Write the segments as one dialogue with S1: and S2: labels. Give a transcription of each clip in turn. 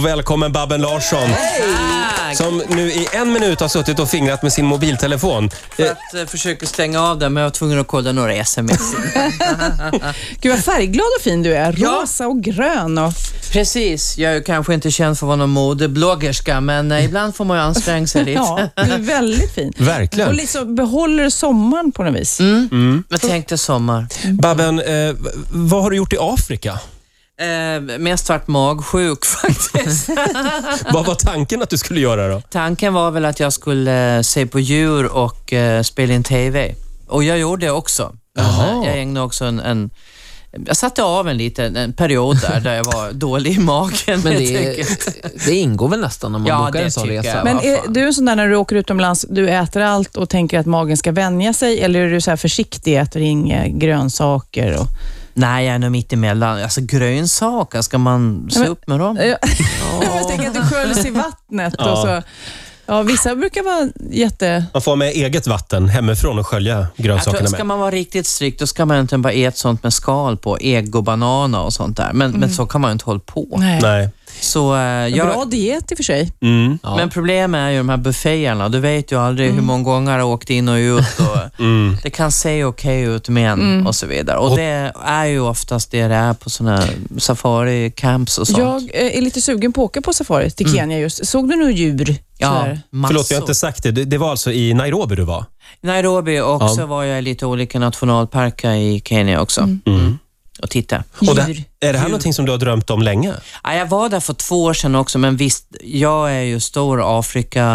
S1: och välkommen Babben Larsson. Som nu i en minut har suttit och fingrat med sin mobiltelefon. Eh,
S2: För att eh, försöka stänga av den, men jag var tvungen att kolla några sms.
S3: Gud vad färgglad och fin du är. Rosa och grön och...
S2: Precis, jag är ju kanske inte känd för att vara någon modebloggerska, men eh, ibland får man ju anstränga sig lite.
S3: Ja, du är väldigt fin. Och
S1: verkligen.
S3: liksom behåller sommaren på något vis.
S2: Mm. Men tänk dig sommar.
S1: Babben, eh, v- vad har du gjort i Afrika?
S2: Eh, mest vart magsjuk faktiskt.
S1: Vad var tanken att du skulle göra då?
S2: Tanken var väl att jag skulle eh, se på djur och eh, spela in TV. Och jag gjorde det också. Men,
S1: Jaha.
S2: eh, Jag ägnade också en, en jag satte av en liten en period där, där jag var dålig i magen.
S4: Men
S2: helt enkelt.
S4: det, det ingår väl nästan när man
S2: Ja,
S4: bokar
S2: det
S4: en sån
S2: tycker
S4: resa?
S2: jag.
S4: va?
S3: Men
S2: vad
S3: är
S2: fan.
S3: du en sån där när du åker utomlands, du äter allt och tänker att magen ska vänja sig eller är du så här försiktig, äter inga grönsaker? Och...
S2: Nej, jag är nog mittemellan. Alltså grönsaker, ska man se
S3: men-
S2: upp med dem?
S3: Ja. Jag tänker att du sköljs i vattnet. Och
S1: Ja.
S3: så. Ja, vissa brukar vara jätte...
S1: Man får ha med eget vatten hemifrån och skölja
S2: Jag tror,
S1: grönsakerna
S2: ska
S1: med.
S2: man vara riktigt strikt, då ska man inte bara äta sånt med skal på, ägg och bananer och sånt där. Men, men så kan man ju inte hålla på.
S3: Nej.
S1: Nej.
S2: Så, eh, jag,
S3: Mm. Bra diet i och för sig.
S1: Mm.
S4: Ja.
S2: Men problemet är ju de här bufféerna. Du vet ju aldrig
S3: Mm.
S2: hur många gånger jag åkt in och ut. Och
S1: Mm.
S2: det kan se okej ut, men
S3: Mm.
S2: och så vidare. Och,
S1: Och-
S2: det är ju oftast det det är på såna här safari-camps och sånt.
S3: Jag eh, är lite sugen på att åka på safari till Kenya just. Såg du några djur?
S2: Mm. ja,
S3: Sådär.
S2: massor.
S1: Förlåt, jag har inte sagt det. det. Det var alltså i Nairobi du var?
S2: Nairobi och
S1: Ja.
S2: så var jag i lite olika nationalparker i Kenya också.
S1: Mm.
S2: Och titta.
S1: Och det,
S3: Djur.
S1: är det här någonting som du har drömt om länge?
S2: Ja, jag var där för två år sedan också, men visst, jag är ju stor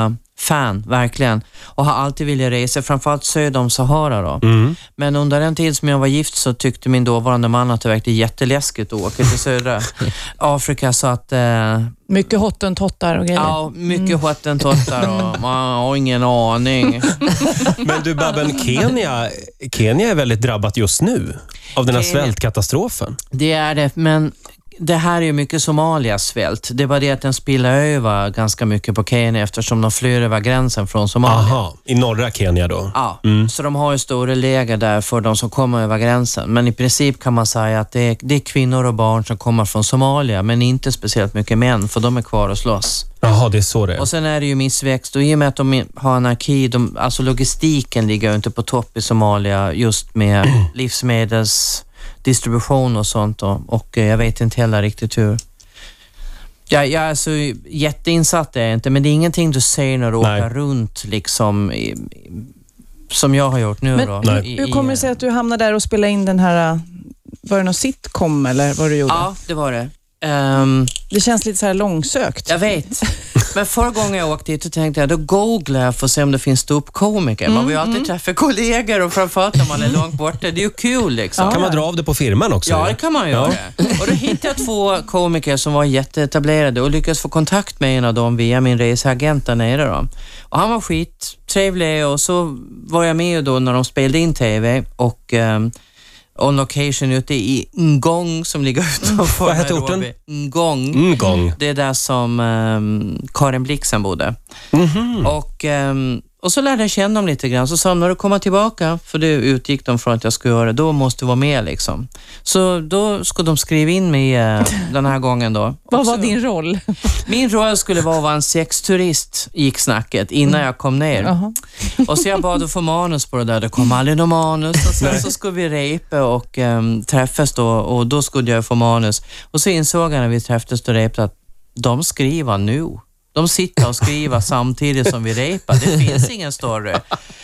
S2: Afrika-fan, verkligen. Och har alltid velat resa, framförallt söder om Sahara. Då.
S1: Mm.
S2: Men under den tid som jag var gift så tyckte min dåvarande man att det verkade jätteläskigt att åka till södra Afrika. Så att, eh,
S3: Mycket hottentottar och grejer.
S2: ja, mycket hottentottar och man har ingen aning.
S1: Men du Babben, Kenya, Kenya är väldigt drabbat just nu av den här
S2: Kenya.
S1: svältkatastrofen.
S2: Det är det, men det här är ju mycket Somalias svält. Det var det att den spillade över ganska mycket på Kenya eftersom de flyr över gränsen från Somalia.
S1: Aha, i norra Kenya då.
S2: Ja, så de har ju stora läger där för de som kommer över gränsen. Men i princip kan man säga att det är, det är kvinnor och barn som kommer från Somalia, men inte speciellt mycket män, för de är kvar och slåss.
S1: Jaha, det är så det är.
S2: Och sen är det ju missväxt och i och med att de har anarki, de, alltså logistiken ligger ju inte på topp i Somalia just med livsmedelsdistribution och sånt och, och eh, jag vet inte heller riktigt hur. Jag, jag är så jätteinsatt är jag inte, men det är ingenting du ser när du
S1: Nej.
S2: åker runt liksom i, i, som jag har gjort nu
S3: Men
S2: då.
S1: Nej.
S2: I,
S3: Hur kommer det sig att du hamnade där och spelade in den här... eh, Var det någon sitcom eller vad du gjorde?
S2: Ja, det var det. Ehm,
S3: Det känns lite så här långsökt.
S2: Jag vet. Men förra gången jag åkte hit så tänkte jag, då googlar jag för att se om det finns ståuppkomiker. Man vill ju
S1: Mm,
S2: alltid träffa kollegor och framförallt när man är långt borta. Det är ju kul liksom.
S1: Kan man dra av det på firman också?
S2: Ja, det kan man göra. Och då hittade jag två komiker som var jätteetablerade och lyckades få kontakt med en av dem via min reseagent där nere. Då. Och han var skittrevlig och så var jag med då när de spelade in TV och ehm, on location ute i Ngong som ligger utanför
S1: Mm. Vad hette orten?
S2: Nairobi. Ngong.
S1: Mm, gång.
S2: Det är där som ehm, Karin Blixen bodde.
S3: Mhm.
S2: Och, ehm, och så lärde jag känna dem lite grann. Så sa de, när du kommer tillbaka, för det utgick de från att jag skulle göra det, då måste du vara med liksom. Så då skulle de skriva in mig eh, den här gången då.
S3: Vad
S2: Och så-
S3: var din roll?
S2: Min roll skulle vara att vara en sexturist, gick snacket,
S4: Mm.
S2: innan jag kom ner.
S3: Jaha.
S2: Och så jag bad att få manus på det där. Det kom aldrig något manus. Och sen så skulle vi repa och ehm, träffas då och då skulle jag få manus. Och så insåg jag när vi träffades och repade att de skriver nu. De sitter och skriver samtidigt som vi repar. Det finns ingen story.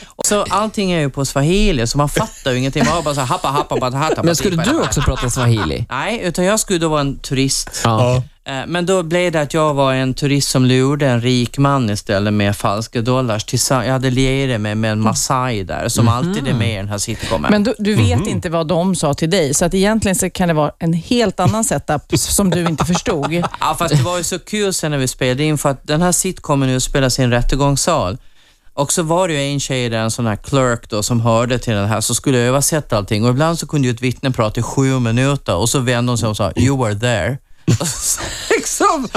S2: Och så allting är ju på swahili, så man fattar ju ingenting. Man bara så här, happa, happa, happa, happa,
S4: Men skulle du också prata swahili?
S2: Nej, utan jag skulle då vara en turist.
S1: Ja.
S2: Eh, Men då blev det att jag var en turist som lurade en rik man istället med falska dollars. Tillsa- Jag hade lierat mig med en Masai där, som alltid är med i den här sitcomen.
S3: Men du, du vet
S2: Mhm.
S3: inte vad de sa till dig, så att egentligen så kan det vara en helt annan setup som du inte förstod.
S2: Ja, fast det var ju så kul sen när vi spelade in, för att den här sitcomen utspelas i en rättegångssal. Och så var det ju en tjej där, en sån här clerk då, som hörde till den här, så skulle översätta allting. Och ibland så kunde ju ett vittne prata i sju minuter och så vände hon sig och sa “You were there”. Och så liksom,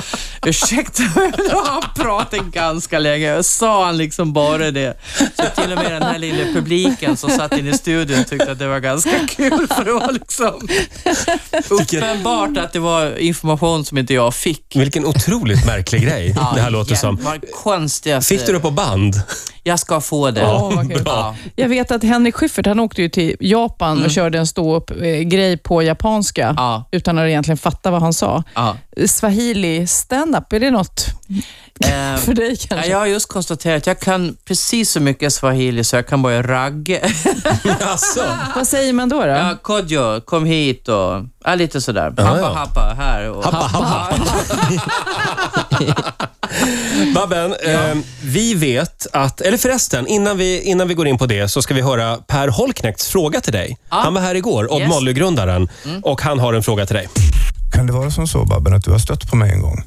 S2: ursäkta, då har han pratat ganska länge. Sa han liksom bara det? Så till och med den här lilla publiken som satt inne i studion tyckte att det var ganska kul, för det var liksom uppenbart att det var information som inte jag fick.
S1: Vilken otroligt märklig grej det här låter som.
S2: Vad konstigaste.
S1: Fick du det på band?
S2: Jag ska få det.
S3: Åh, vad kul.
S1: Bra.
S3: Jag vet att Henrik Schyffert, han åkte ju till Japan och körde en ståupp-grej på japanska
S2: Mm. Ja.
S3: utan att egentligen fatta vad han sa.
S2: Ja.
S3: Swahili stand-up, är det något
S2: Eh,
S3: för dig
S2: Ja,
S3: kanske?
S2: jag har just konstaterat att jag kan precis så mycket swahili så jag kan börja ragga.
S1: Jaså?
S3: Vad säger man då? då?
S2: Ja, Kodjo, kom hit och ja, lite sådär.
S1: Ja,
S2: Happa,
S1: ja.
S2: happa, här. Och,
S1: Happa, Babben, eh, vi vet att, eller förresten, innan vi, innan vi går in på det så ska vi höra Per Holknekts fråga till dig. Han var här igår, Odd
S2: Yes. Mm.
S1: Molly-grundaren, och han har en fråga till dig.
S5: Kan det vara som så Babben att du har stött på mig en gång?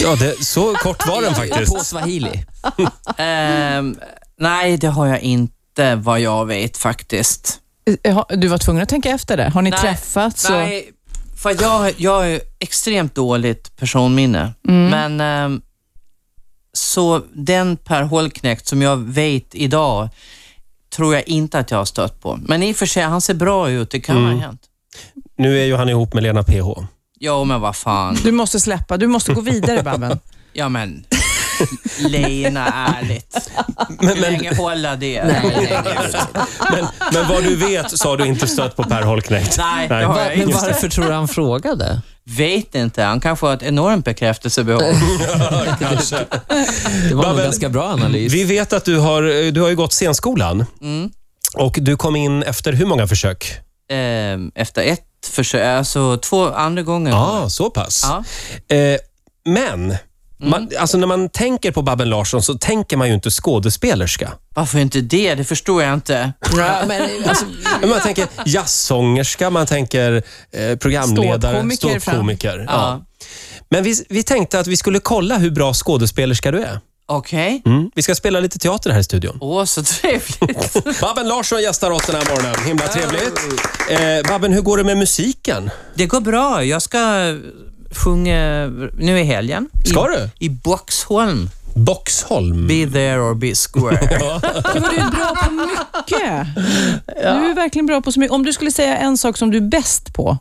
S1: Ja, det, så kort var den faktiskt.
S4: På swahili.
S2: Ehm, nej, det har jag inte vad jag vet faktiskt.
S3: Jaha, Eh, Du var tvungen att tänka efter det. Har ni
S2: Nej,
S3: träffats? och-
S2: Nej, för jag, jag är extremt dåligt personminne. Men ehm, så den Per Holknekt som jag vet idag tror jag inte att jag har stött på. Men i och för sig, han ser bra ut. Det kan ha hänt.
S1: Nu är ju han ihop med Lena PH.
S2: Ja, men vad fan.
S3: Du måste släppa, du måste gå vidare Babben.
S2: Ja, men Lena, ärligt.
S1: Men,
S2: Hur
S1: men,
S2: länge håller det? Nej, nej,
S1: men, men vad du vet så har du inte stött på Per Holknekt.
S2: nej.
S1: Nej.
S2: det har jag
S4: Men
S2: inte.
S4: varför tror du han frågade?
S2: Vet inte. Han kanske har ett enormt bekräftelsebehov.
S1: Kanske.
S4: Det var nog
S1: Babben,
S4: en ganska bra analys.
S1: Vi vet att du har, du har ju gått scenskolan. Och du kom in efter hur många försök?
S2: Ehm, Efter ett försök, alltså två andra gånger.
S1: Ja, ah, så pass.
S2: Ja.
S1: Eh, men, man, alltså när man tänker på Babben Larsson så tänker man ju inte skådespelerska.
S2: Varför inte det? Det förstår jag inte.
S4: Ja, men, alltså,
S1: Men man tänker jazzsångerska, man tänker eh, programledare,
S3: Ståuppkomiker fram.
S1: ståuppkomiker. Ja.
S2: Ja.
S1: Men vi, vi tänkte att vi skulle kolla hur bra skådespelerska du är.
S2: Okej.
S1: Mm. Vi ska spela lite teater här i studion.
S2: Åh, så trevligt.
S1: Babben Larsson gästar oss den här morgonen. Himla trevligt. Eh, Babben, hur går det med musiken?
S2: Det går bra. Jag ska sjunga nu i helgen.
S1: Ska
S2: I,
S1: du?
S2: I Boxholm.
S1: Boxholm.
S2: Be there or be square.
S3: Du var ju bra på mycket. Du är verkligen bra på så mycket. Om du skulle säga en sak som du är bäst på,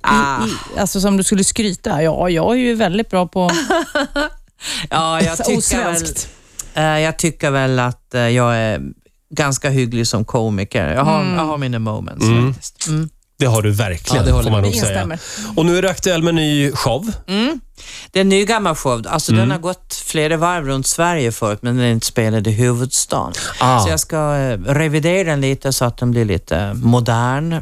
S2: ah.
S3: i, alltså som du skulle skryta. Ja, jag är ju väldigt bra på
S2: Ja, jag tycker väl,
S3: osvenskt.
S2: eh, jag tycker väl att eh, jag är ganska hygglig som komiker. Jag har, jag har mina moments faktiskt. Mm.
S1: Det har du verkligen,
S4: Ja, det håller
S1: får man
S4: vi.
S1: nog
S3: Vi
S1: säga.
S3: instämmer.
S1: Och nu är du aktuell med ny show.
S2: Det är en ny gammal show. Alltså,
S1: Mm.
S2: Den har gått flera varv runt Sverige förut, men den är inte spelad i huvudstaden.
S1: Ah.
S2: Så jag ska eh, revidera den lite så att den blir lite modern. Eh,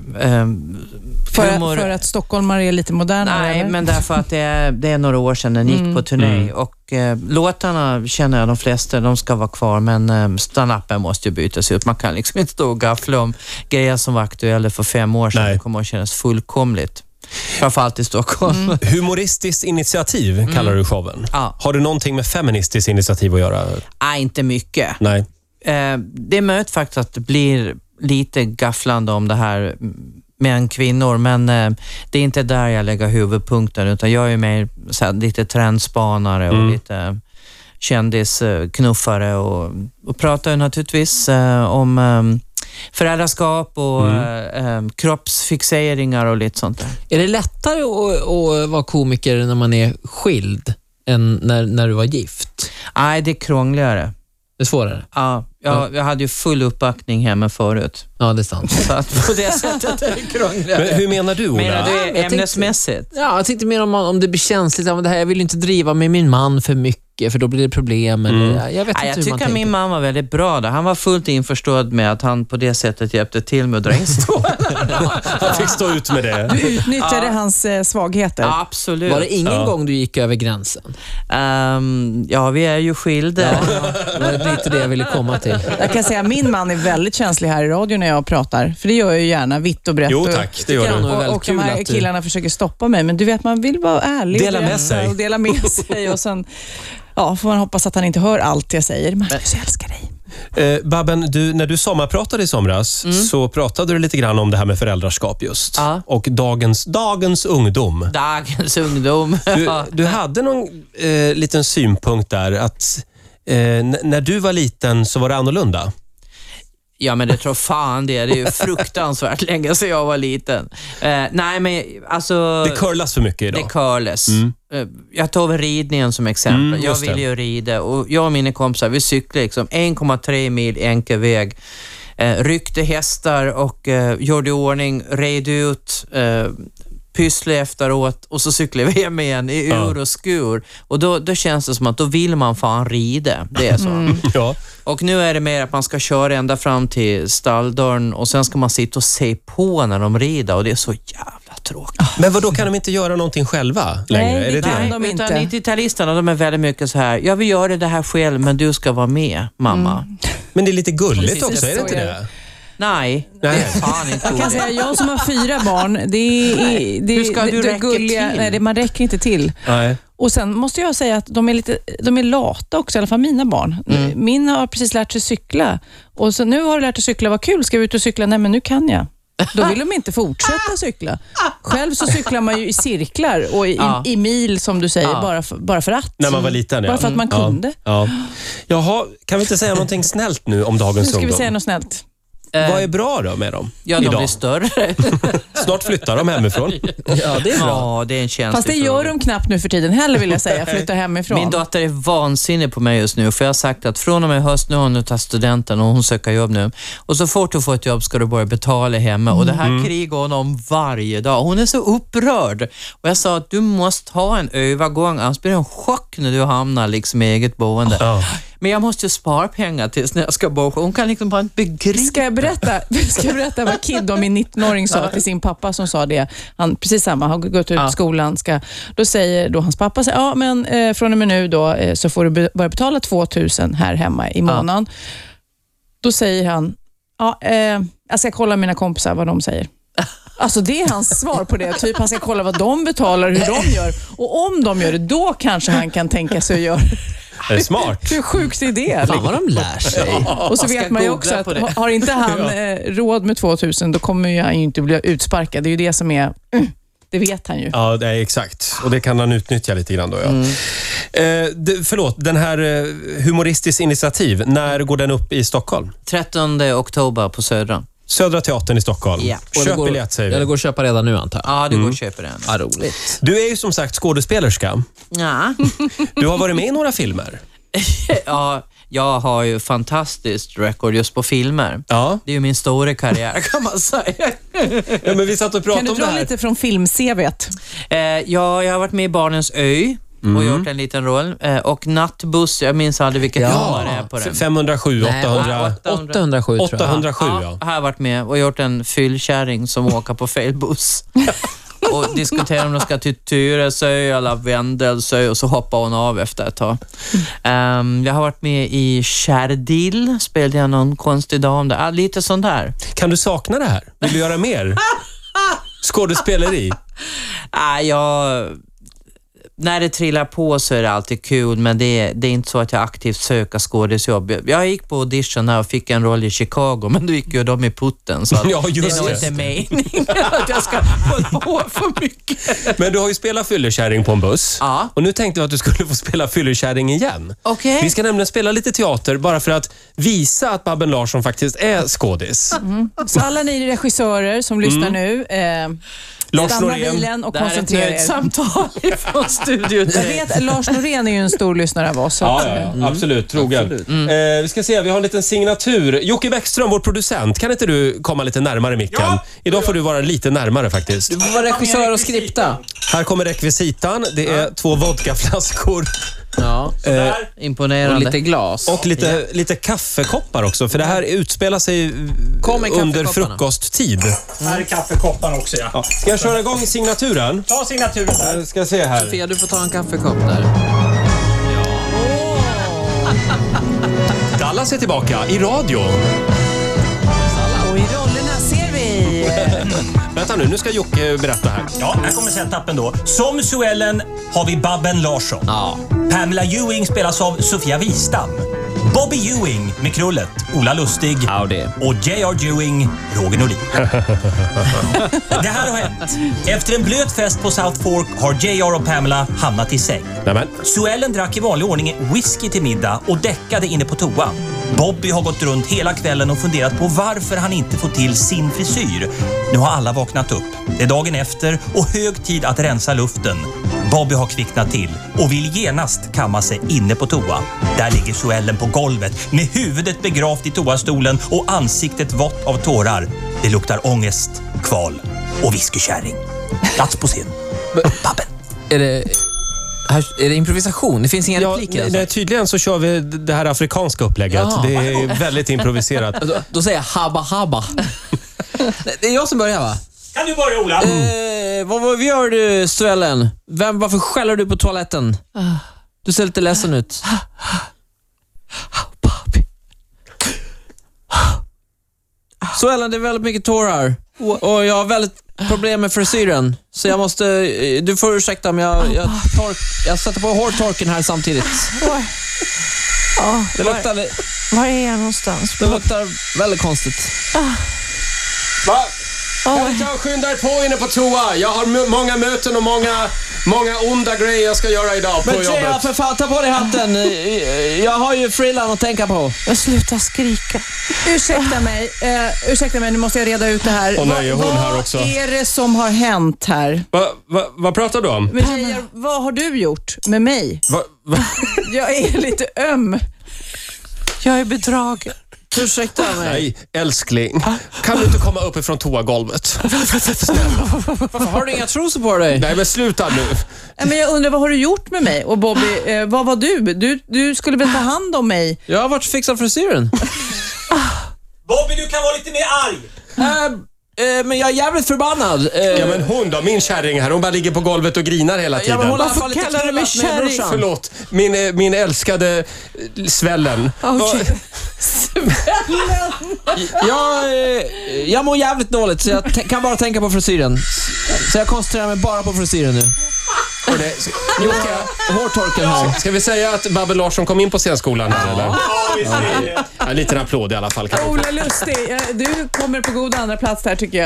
S3: För,
S2: humor-
S3: för att stockholmare är lite modernare?
S2: Nej,
S3: eller? Mm.
S2: men därför att det är, det är några år sedan den gick på turné
S1: Mm.
S2: och eh, låtarna känner jag de flesta, de ska vara kvar men eh, stand-upen måste ju bytas ut. Man kan liksom inte stå och gaffla om grejer som var aktuella för fem år sedan.
S1: Nej.
S2: Det kommer att kännas fullkomligt. Framförallt i Stockholm.
S3: Mm.
S1: Humoristiskt initiativ kallar du showen.
S2: Ja.
S1: Har du någonting med feministiskt initiativ att göra?
S2: Nej, inte mycket.
S1: Nej.
S2: Eh, det är möjligt faktiskt att det blir lite gafflande om det här mm, män, kvinnor, men eh, det är inte där jag lägger huvudpunkten, utan jag är mer så här, lite trendspanare och
S4: Mm.
S2: lite kändisknuffare och, och pratar ju naturligtvis eh, om eh, föräldraskap och
S4: Mm.
S2: eh, eh, kroppsfixeringar och lite sånt där.
S4: är det lättare att, att vara komiker när man är skild än när, när du var gift?
S2: Nej, det är krångligare.
S4: Det är svårare?
S2: Ja, jag, jag hade ju full uppbackning hemma förut,
S4: Ja, det är sant.
S2: så att på det sättet är det krångligare.
S1: Men hur menar du, Ola?
S2: Menar
S4: Ja, men
S2: du
S4: jag tänkte-
S2: ämnesmässigt?
S4: Ja, jag tänkte mer om, om det blir känsligt. Ja, men det här, jag vill ju inte driva med min man för mycket, för då blir det problem. Eller,
S1: Mm.
S4: jag, jag vet
S2: Nej, jag
S4: inte hur man
S2: tycker att
S4: tänker.
S2: min man var väldigt bra där. Han var fullt införstådd med att han på det sättet hjälpte till med att dra in stål.
S1: Han fick stå ut med det.
S3: Du utnyttjade hans eh, svagheter.
S2: Ja, absolut.
S4: Var det ingen
S1: Ja.
S4: gång du gick över gränsen?
S2: Ehm, ja, vi är ju skilda.
S4: Det var lite det jag ville komma till.
S3: Jag kan säga att min man är väldigt känslig här i radio när jag pratar, för det gör jag ju gärna vitt och brett.
S1: Jo
S3: och,
S1: tack, det gör
S4: Tycker
S1: du.
S4: han var
S3: Och,
S4: väldigt
S3: och de
S4: kul
S3: här
S4: att du-
S3: killarna försöker stoppa mig, men du vet, man vill vara ärlig och
S1: Dela med
S3: berätta
S1: sig.
S3: och dela med sig. Och sen ja, får man hoppas att han inte hör allt jag säger. Marcus, jag älskar dig.
S1: Eh, Babben, du, när du sommarpratade i somras så pratade du lite grann om det här med föräldraskap just.
S2: Ja.
S1: Och dagens, dagens ungdom.
S2: Dagens ungdom.
S1: Du, du hade någon eh, liten synpunkt där att eh, n- när du var liten så var det annorlunda.
S2: Ja, men det tror fan det. Det är ju fruktansvärt länge sedan jag var liten. Eh, nej, men alltså...
S1: Det curlas för mycket
S2: Det
S1: idag.
S2: curles. Eh, Jag tar väl ridningen som exempel.
S1: Mm,
S2: jag
S1: just
S2: vill
S1: det.
S2: ju rida och jag och mina kompisar, vi cyklade liksom 1,3 mil enkel väg. Eh, ryckte hästar och eh, gjorde i ordning, red ut, eh, pysslade efteråt och så cyklade vi hem igen i
S1: Ja.
S2: ur och skur. Och då, då känns det som att då vill man fan rida. Det är så.
S1: Ja.
S2: Och nu är det mer att man ska köra ända fram till stalldörren och sen ska man sitta och se på när de rider och det är så jävla tråkigt.
S1: Men vad då kan de inte göra någonting själva längre?
S3: Nej,
S1: är det
S3: det kan
S1: det?
S3: de-
S2: Nej, utan
S3: inte.
S2: 90-talisterna de är väldigt mycket så här, jag vill göra det här själv men du ska vara med mamma.
S3: Mm.
S1: Men det är lite gulligt
S3: Precis,
S1: också, är det
S3: så
S1: inte
S3: är
S1: det?
S2: Nej, det
S1: Nej.
S2: är fan inte
S3: Jag kan
S2: roligt.
S3: säga, jag som har fyra barn, det är... Det,
S2: Hur ska du
S3: det, det
S2: räcka till?
S3: Nej, det, man räcker inte till.
S1: Nej.
S3: Och Sen måste jag säga att de är, lite, de är lata också, i alla fall mina barn. Min har precis lärt sig cykla. Och så Nu har du lärt dig cykla, vad kul. Ska vi ut och cykla? Nej, men nu kan jag. Då vill de inte fortsätta cykla. Själv så cyklar man ju i cirklar och i,
S2: Ja.
S3: i mil, som du säger,
S2: Ja.
S3: bara, för, bara för att.
S1: När man var liten, ja.
S3: Bara för att man
S1: Mm.
S3: kunde.
S1: Ja. Jaha, kan vi inte säga någonting snällt nu om
S3: Nu
S1: dagens
S3: ska vi
S1: ungdom?
S3: säga något snällt.
S1: Vad är bra då med dem
S2: Ja, de
S1: idag?
S2: blir större.
S1: Snart flyttar de hemifrån.
S2: ja, det är bra. Ja, det är en känslig
S3: Fast det gör
S2: fråga.
S3: de knappt nu för tiden heller, vill jag säga. Flytta hemifrån.
S2: Min dotter är vansinnig på mig just nu, för jag har sagt att från och med i höst, nu har hon tagit studenten och hon söker jobb nu, och så fort hon får ett jobb ska du börja betala hemma. Och det här krigar hon om varje dag. Hon är så upprörd. Och jag sa att du måste ha en övergång, annars blir det en chock när du hamnar liksom i eget boende.
S1: Ja.
S2: Men jag måste ju spara pengar tills när jag ska bo. Hon kan liksom bara inte begripa.
S3: Ska jag berätta, ska jag berätta vad Kid, då, min 19-åring, sa till sin pappa som sa det? Han, precis samma, har gått ut
S2: Ja.
S3: skolan. Ska, då säger då hans pappa, säger, ja men eh, från och med nu då, eh, så får du be- börja betala 2000 här hemma i månaden. Då säger han, ja, eh, jag ska kolla mina kompisar vad de säger. Alltså det är hans svar på det. Typ han ska kolla vad de betalar och hur de gör. Och om de gör det, då kanske han kan tänka sig att göra det.
S1: Är det smart?
S3: Hur sjukt är det?
S4: Fan vad de lär sig.
S3: Och så
S2: Jag ska
S3: vet man ju
S2: googla
S3: också att
S2: på det.
S3: har- har inte han eh, råd med 2000 då kommer ju han ju inte bli utsparkad. Det är ju det som är... Mm, det vet han ju.
S1: Ja, det är exakt. Och det kan han utnyttja lite grann då, ja. Eh, d- förlåt, den här eh, Humoristiskt initiativ, när går den upp i Stockholm?
S2: 13 oktober på Södra.
S1: Södra Teatern i Stockholm.
S2: Ja.
S4: Och det
S1: Köp
S4: går-
S1: biljett säger
S4: Ja, det
S1: vi.
S4: går att köpa redan nu antar jag.
S2: Ja, det går att köpa den.
S4: Ja, roligt.
S1: Du är ju som sagt skådespelerska.
S2: Ja.
S1: Du har varit med i några filmer.
S2: ja, jag har ju fantastiskt record just på filmer.
S1: Ja,
S2: Det är ju min stora karriär kan man säga.
S1: ja men vi satt och
S3: Kan
S1: pratade
S3: du
S1: om det
S3: dra
S1: här.
S3: lite från film-CVt?
S2: Eh, ja, jag har varit med i Barnens Ö och gjort en liten roll. Eh, och Nattbuss, jag minns aldrig vilket nummer det är på den. Eh,
S1: F- 507,
S4: Nej,
S1: 800,
S4: 807 tror jag.
S1: 807 ja.
S2: Ja, här har jag varit med och gjort en fyllkärring som åker på fel buss. och diskuterar om de ska till Tyresö eller Vendelsö och så hoppar hon av efter ett tag. Ehm, jag har varit med i Kärdil, spelade jag någon konstig dam där. Ah, lite sånt där.
S1: Kan du sakna det här? Vill du göra mer? Skådespeleri?
S2: Ah, jag, när det trillar på så är det alltid kul, men det, det är inte så att jag aktivt söker skådisjobb. Jag- Jag gick på audition här och fick en roll i Chicago, men då gick ju de i putten. Så att
S1: Ja,
S2: det
S1: just
S2: är nog
S1: det.
S2: inte meningen att jag ska hålla på för mycket.
S1: Men du har ju spelat fyllekärring på en buss.
S2: Ja.
S1: Och nu tänkte jag att du skulle få spela fyllekärring igen.
S2: Okej.
S1: Vi ska nämligen spela lite teater bara för att visa att Babben Larsson faktiskt är skådis.
S3: Så alla ni regissörer som lyssnar nu, eh,
S1: Lars
S3: stanna
S1: Norén.
S3: bilen och
S2: Det här är ett
S3: koncentrera er.
S2: nödsamtal från studion.
S3: Jag vet, Lars Norén är ju en stor lyssnare av oss. så
S1: Ja,
S3: att,
S1: ja,
S3: eh,
S1: ja. Mm. absolut. Trogen. Eh, vi ska se, vi har en liten signatur. Jocke Bäckström, vår producent, kan inte du komma lite närmare micken? Idag får du vara lite närmare faktiskt.
S4: Du får vara regissör och skripta.
S1: Här kommer rekvisitan. Det är två vodkaflaskor
S4: Ja.
S1: eh,
S4: Och
S2: Imponerande.
S4: lite glas.
S1: och lite, lite kaffekoppar också, för det här utspelar sig eh,
S4: Kom med
S1: under
S4: kaffekopparna.
S1: frukosttid.
S6: Här är kaffekopparna också ja.
S1: Ja. Ska jag köra igång signaturen?
S6: Ta signaturen där.
S1: Eh, Ska se här.
S4: Sofia, du får ta en kaffekopp där.
S1: Dallas är tillbaka i radio.
S3: Och i rollerna ser vi...
S1: Vänta nu, nu ska Jocke berätta här.
S6: Ja, här kommer sen tappen då. Som Suellen har vi Babben Larsson.
S4: Ja.
S6: Pamela Ewing spelas av Sofia Wistam. Bobby Ewing med Krullet, Ola Lustig
S4: Ja, det.
S6: och J.R. Ewing, Roger Nordin. det här har hänt. Efter en blöt fest på South Fork har J.R. och Pamela hamnat i säng.
S1: Nämen.
S6: Suellen drack i vanlig ordning whisky till middag och däckade inne på toan. Bobby har gått runt hela kvällen och funderat på varför han inte får till sin frisyr. Nu har alla vaknat upp. Det är dagen efter och hög tid att rensa luften. Bobby har kvicknat till och vill genast kamma sig inne på toa. Där ligger Suellen på golvet med huvudet begravt i toastolen och ansiktet vått av tårar. Det luktar ångest, kval och whiskykärring. Plats på scen. Pappen.
S4: Är det, här, är det improvisation? Det finns inga repliker? Alltså?
S1: nej, tydligen så kör vi det här afrikanska upplägget.
S4: Jaha.
S1: Det är väldigt improviserat.
S4: Då, då säger jag habba habba. Nej, det är jag som börjar va?
S6: Kan du börja Ola?
S4: Eh, vad, vad gör du Suellen? Vem, varför skäller du på toaletten? Du ser lite ledsen ut. Papi. Suellen, det är väldigt mycket tårar. Och jag har väldigt problem med frisyren. Så jag måste... eh, Du får ursäkta om jag, jag, tork, jag sätter på hårtorken här samtidigt. Det luktar, det
S7: Var är jag någonstans?
S4: luktar väldigt konstigt.
S1: Va? Vänta, skynda er på inne på toa. Jag har m- många möten och många, många onda grejer jag ska göra idag på
S4: Men Tjeja,
S1: jobbet.
S4: för fan, ta på dig hatten. Eh, Jag har ju Freeland att tänka på.
S7: Jag slutar skrika.
S3: Ursäkta mig, eh, ursäkta mig, nu måste jag reda ut det här.
S1: Åh nej, är hon
S3: vad
S1: här också?
S3: Vad är det som har hänt här?
S1: Va, va, vad pratar du om?
S3: Men tjejer, vad har du gjort med mig?
S1: Va, va?
S3: Jag är lite öm.
S7: Jag är bedragen.
S4: Ursäkta mig.
S1: Nej, älskling. Kan du inte komma uppifrån toagolvet?
S4: Varför har du inga trosor på dig?
S1: Nej, men sluta nu.
S3: Nej, Men jag undrar, vad har du gjort med mig? Och Bobby,
S7: Ah.
S3: eh, vad var du? du? Du skulle väl ta hand om mig?
S4: Jag har varit och fixat frisyren.
S6: Bobby, du kan vara lite mer arg.
S4: Eh, eh, men jag är jävligt förbannad. Eh,
S1: Ja, men hon då, min kärring här, hon bara ligger på golvet och grinar hela
S4: ja,
S1: tiden.
S4: men hon har i alla
S7: Varför
S4: fall inte
S7: kallar du mig
S4: knullat med
S7: kärring?
S4: brorsan.
S1: Förlåt, min, eh, min älskade eh, svällen.
S7: Ah, Okej.
S1: Va-
S4: Jag, eh, jag mår jävligt dåligt, så jag t- kan bara tänka på frisyren. Så jag koncentrerar mig bara på frisyren nu.
S1: och det- Jocke,
S4: Hårtorken här.
S1: ska vi säga att Babbel Larsson kom in på scenskolan här eller? Ja, en liten applåd i alla fall. Kan vi få.
S3: Ola Lustig, eh, du kommer på god andra plats där tycker jag.